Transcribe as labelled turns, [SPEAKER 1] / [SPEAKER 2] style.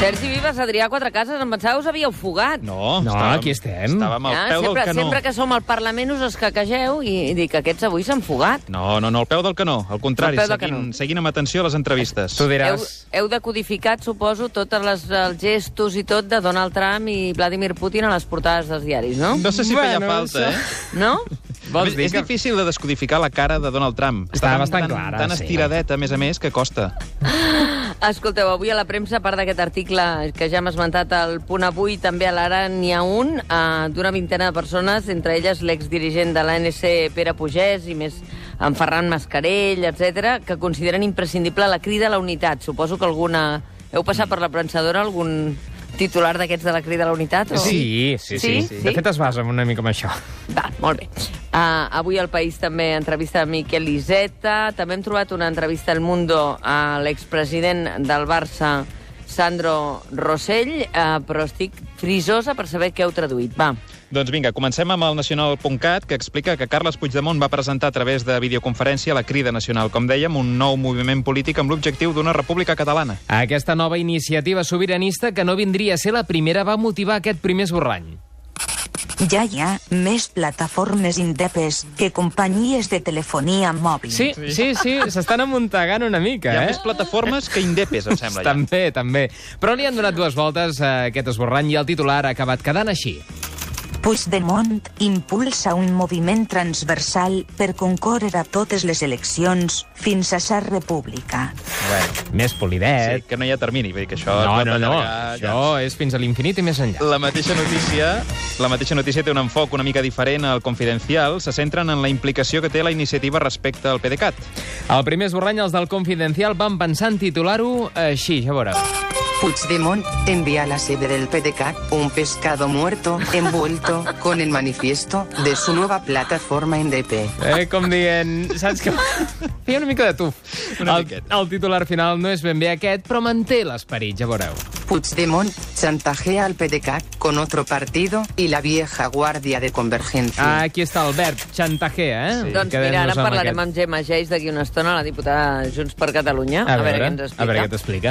[SPEAKER 1] Sergi Vives, Adrià Quatrecases, em pensava que us havíeu fugat.
[SPEAKER 2] No,
[SPEAKER 3] No, aquí estem.
[SPEAKER 2] Estàvem al
[SPEAKER 1] Ah,
[SPEAKER 2] peu
[SPEAKER 1] sempre,
[SPEAKER 2] del canó.
[SPEAKER 1] sempre que som al Parlament us escaquegeu i, i dic, aquests avui s'han fugat.
[SPEAKER 2] No, no, no, al peu del canó. Al contrari,
[SPEAKER 1] Al peu del
[SPEAKER 2] seguint,
[SPEAKER 1] canó.
[SPEAKER 2] seguint amb atenció les entrevistes.
[SPEAKER 3] Tu
[SPEAKER 1] Heu,
[SPEAKER 3] diràs...
[SPEAKER 1] heu decodificat, suposo, tots els, els gestos i tot de Donald Trump i Vladimir Putin a les portades dels diaris, no?
[SPEAKER 2] No sé si feia
[SPEAKER 3] Bueno,
[SPEAKER 2] falta,
[SPEAKER 3] això-
[SPEAKER 2] eh?
[SPEAKER 1] No?
[SPEAKER 3] Vols dir
[SPEAKER 2] és
[SPEAKER 3] que-
[SPEAKER 2] difícil de descodificar la cara de Donald Trump.
[SPEAKER 3] Està
[SPEAKER 2] tan-
[SPEAKER 3] bastant
[SPEAKER 2] tan,
[SPEAKER 3] clara,
[SPEAKER 2] Tan
[SPEAKER 3] sí.
[SPEAKER 2] estiradeta, a més a més, que costa.
[SPEAKER 1] Escolteu, avui a la premsa, a part d'aquest article que ja hem esmentat al punt avui, també a l'ara n'hi ha un eh, d'una vintena de persones, entre elles l'exdirigent de l'ANC Pere Pugès i més en Ferran Mascarell, etc, que consideren imprescindible la crida a la unitat. Suposo que alguna... Heu passat per la premsadora algun titular d'aquests de la crida a la unitat? O...
[SPEAKER 3] Sí, sí, sí,
[SPEAKER 1] Sí?
[SPEAKER 3] sí. De
[SPEAKER 1] Sí?
[SPEAKER 3] fet, es basa en una mica en això.
[SPEAKER 1] Va, molt bé. Uh, avui al País també entrevista a Miquel Iseta. També hem trobat una entrevista al Mundo a l'expresident del Barça, Sandro Rossell, uh, però estic frisosa per saber què heu traduït. Va,
[SPEAKER 2] Doncs vinga, comencem amb el nacional.cat, que explica que Carles Puigdemont va presentar a través de videoconferència la Crida Nacional, com dèiem, un nou moviment polític amb l'objectiu d'una república catalana.
[SPEAKER 3] Aquesta nova iniciativa sobiranista, que no vindria a ser la primera, va motivar aquest primer esborrany.
[SPEAKER 4] Ja hi ha més plataformes indepes que companyies de telefonia mòbil.
[SPEAKER 3] Sí, sí, sí, s'estan amuntegant una mica,
[SPEAKER 2] Hi ha
[SPEAKER 3] eh?
[SPEAKER 2] més plataformes que indepes, em sembla. Ja.
[SPEAKER 3] També, també. Però li han donat dues voltes a aquest esborrany i el titular ha acabat quedant així.
[SPEAKER 4] Puigdemont impulsa un moviment transversal per concórrer a totes les eleccions fins a ser república.
[SPEAKER 3] Bueno, més
[SPEAKER 2] Sí,
[SPEAKER 3] polidet.
[SPEAKER 2] que no hi ha termini, vull dir que això... es
[SPEAKER 3] No,
[SPEAKER 2] pot
[SPEAKER 3] no, no,
[SPEAKER 2] allargar, ja.
[SPEAKER 3] això és fins a l'infinit i més enllà.
[SPEAKER 2] La mateixa notícia la mateixa notícia té un enfoc una mica diferent al Confidencial. Se centren en la implicació que té la iniciativa respecte al PDeCAT.
[SPEAKER 3] El primer esborrany, els del Confidencial, van pensar en titular-ho així, ja veureu.
[SPEAKER 5] Puigdemont envía a la sede del PDK un pescado muerto envuelto con el manifiesto de su nueva plataforma en DP.
[SPEAKER 3] Eh, com dient, saps que... Feia una mica de tuf.
[SPEAKER 2] Una
[SPEAKER 3] el,
[SPEAKER 2] miqueta.
[SPEAKER 3] el titular final no és ben bé aquest, però manté l'esperit, ja veureu.
[SPEAKER 5] Puigdemont chantajea al PDK con otro partido y la vieja guardia de convergencia.
[SPEAKER 3] Ah, aquí està el verb, xantajea, eh?
[SPEAKER 2] Sí.
[SPEAKER 1] doncs
[SPEAKER 3] Quedem-nos
[SPEAKER 1] mira, ara
[SPEAKER 3] amb
[SPEAKER 1] parlarem
[SPEAKER 3] aquest.
[SPEAKER 1] amb Gemma Geis d'aquí una estona, la diputada de Junts per Catalunya,
[SPEAKER 3] A veure,
[SPEAKER 1] què ens explica.
[SPEAKER 3] a veure què t'explica.